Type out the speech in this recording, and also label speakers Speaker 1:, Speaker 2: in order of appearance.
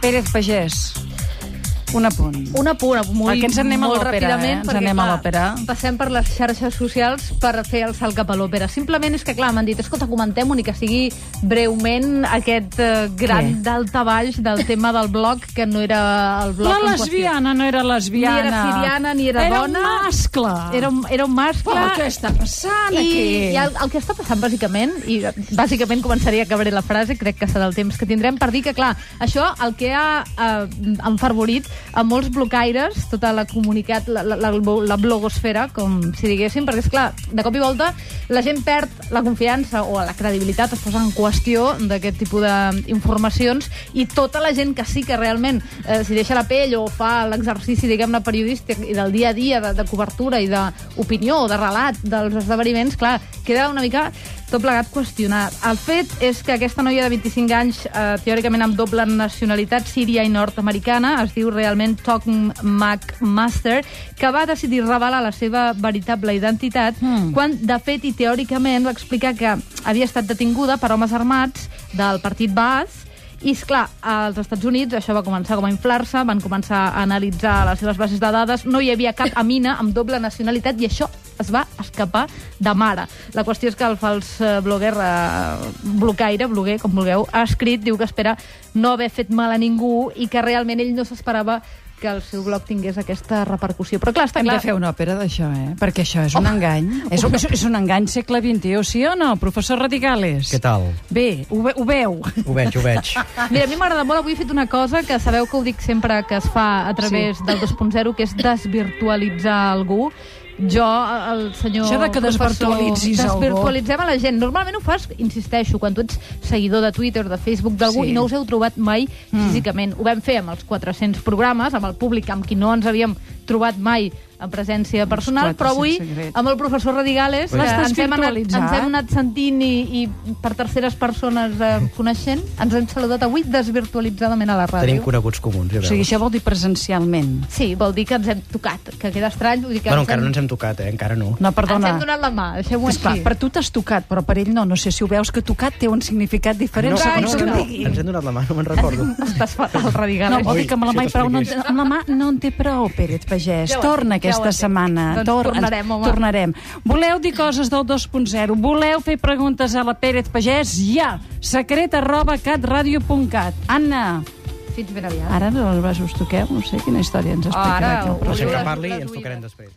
Speaker 1: Pérez Pagès. Un apunt.
Speaker 2: Un apunt, molt,
Speaker 1: Perquè ens en anem a
Speaker 2: molt
Speaker 1: l'òpera,
Speaker 2: ràpidament,
Speaker 1: eh? Ens
Speaker 2: perquè,
Speaker 1: anem a
Speaker 2: clar,
Speaker 1: l'òpera.
Speaker 2: Passem per les xarxes socials per fer el salt cap a l'òpera. Simplement és que, clar, m'han dit, escolta, comentem-ho, ni que sigui breument aquest eh, gran
Speaker 1: Què?
Speaker 2: daltabaix del tema del bloc, que no era el bloc
Speaker 3: La
Speaker 2: en qüestió.
Speaker 3: lesbiana no era lesbiana.
Speaker 2: Ni era siriana, ni era
Speaker 3: era
Speaker 2: dona.
Speaker 3: Era un mascle.
Speaker 2: Era un, era un mascle...
Speaker 3: Però què està passant
Speaker 2: I,
Speaker 3: aquí?
Speaker 2: i el, el que està passant, bàsicament, i bàsicament començaria a acabaré la frase, crec que serà el temps que tindrem, per dir que, clar, això el que ha eh, enfervorit a molts blocaires, tota la comunicat, la, la, la, la blogosfera, com si diguéssim, perquè, és clar, de cop i volta la gent perd la confiança o la credibilitat es posa en qüestió d'aquest tipus d'informacions i tota la gent que sí que realment eh, s'hi deixa la pell o fa l'exercici, diguem-ne, periodístic i del dia a dia de, de cobertura i d'opinió o de relat dels esdeveniments, clar, queda una mica tot plegat qüestionat. El fet és que aquesta noia de 25 anys, eh, teòricament amb doble nacionalitat síria i nord-americana, es diu realment Tok McMaster, que va decidir revelar la seva veritable identitat mm. quan, de fet i teòricament, va explicar que havia estat detinguda per homes armats del partit Baas, i, esclar, als Estats Units això va començar com a inflar-se, van començar a analitzar les seves bases de dades, no hi havia cap amina amb doble nacionalitat i això es va escapar de mare. La qüestió és que el fals eh, bloguer, eh, blocaire, bloguer, com vulgueu, ha escrit, diu que espera no haver fet mal a ningú i que realment ell no s'esperava que el seu blog tingués aquesta repercussió. Però clar, està
Speaker 1: Hem
Speaker 2: clar... Oh.
Speaker 1: de fer una òpera d'això, eh? Perquè això és un engany. És, un- és, és un engany segle XXI, sí o no, professor Radicales?
Speaker 4: Què tal?
Speaker 1: Bé, ho, ve, ho veu.
Speaker 4: Ho veig, ho veig.
Speaker 2: Ah. Mira, a mi m'agrada molt, avui he fet una cosa que sabeu que ho dic sempre que es fa a través sí. del 2.0, que és desvirtualitzar algú. Jo, el senyor...
Speaker 3: Això de que desvirtualitzis
Speaker 2: professor,
Speaker 3: algú.
Speaker 2: Desvirtualitzem a la gent. Normalment ho fas, insisteixo, quan tu ets seguidor de Twitter, de Facebook d'algú,
Speaker 1: Sí.
Speaker 2: sí. i no us heu trobat mai mm. físicament. Ho vam fer amb els 400 programes, amb el públic amb qui no ens havíem trobat mai en presència personal, però avui
Speaker 1: 400 secrets.
Speaker 2: amb el professor Radigales, que
Speaker 3: L'has
Speaker 2: ens hem, anat, ens
Speaker 3: desvirtualitzat?
Speaker 2: hem anat sentint i, i per terceres persones eh, coneixent, ens hem saludat avui desvirtualitzadament a la ràdio.
Speaker 4: Tenim coneguts comuns, ja
Speaker 1: O
Speaker 4: veus.
Speaker 1: sigui, això vol dir presencialment.
Speaker 2: Sí, vol dir que ens hem tocat, que queda estrany. Vull dir que
Speaker 4: bueno,
Speaker 2: ens
Speaker 4: encara
Speaker 2: hem-
Speaker 4: no ens hem tocat, eh? Encara no.
Speaker 1: No, perdona.
Speaker 2: Ens hem donat la mà, deixem-ho així.
Speaker 1: Esclar, per tu t'has tocat, però per ell no. No sé si ho veus, que tocat té un significat diferent.
Speaker 4: no,
Speaker 2: Ai,
Speaker 4: no,
Speaker 1: segons
Speaker 2: tu
Speaker 4: no,
Speaker 1: com
Speaker 4: no.
Speaker 1: digui.
Speaker 4: Ens hem donat la mà, no me'n recordo.
Speaker 2: Estàs fatal, Radigal.
Speaker 1: No, vol dir que amb la,
Speaker 4: Ui,
Speaker 1: mà
Speaker 4: això
Speaker 1: i prou, no, en
Speaker 4: t'ho
Speaker 1: té- amb la mà no en té prou, Pérez Pagès.
Speaker 2: Ja ho
Speaker 1: Torna
Speaker 2: entenc, ja ho
Speaker 1: aquesta
Speaker 2: entenc.
Speaker 1: setmana.
Speaker 2: Doncs tornarem, home.
Speaker 1: tornarem. Voleu dir coses del 2.0? Voleu fer preguntes a la Pérez Pagès? Ja! Secret arroba catradio.cat. Anna,
Speaker 2: Fins ben aviat.
Speaker 1: ara no us toqueu? No sé quina història ens explicarà.
Speaker 2: Ara,
Speaker 1: aquí el
Speaker 2: ho
Speaker 4: La gent
Speaker 2: diu
Speaker 4: que
Speaker 2: les-
Speaker 4: parli
Speaker 2: les
Speaker 4: ens
Speaker 2: oïdes.
Speaker 4: tocarem després.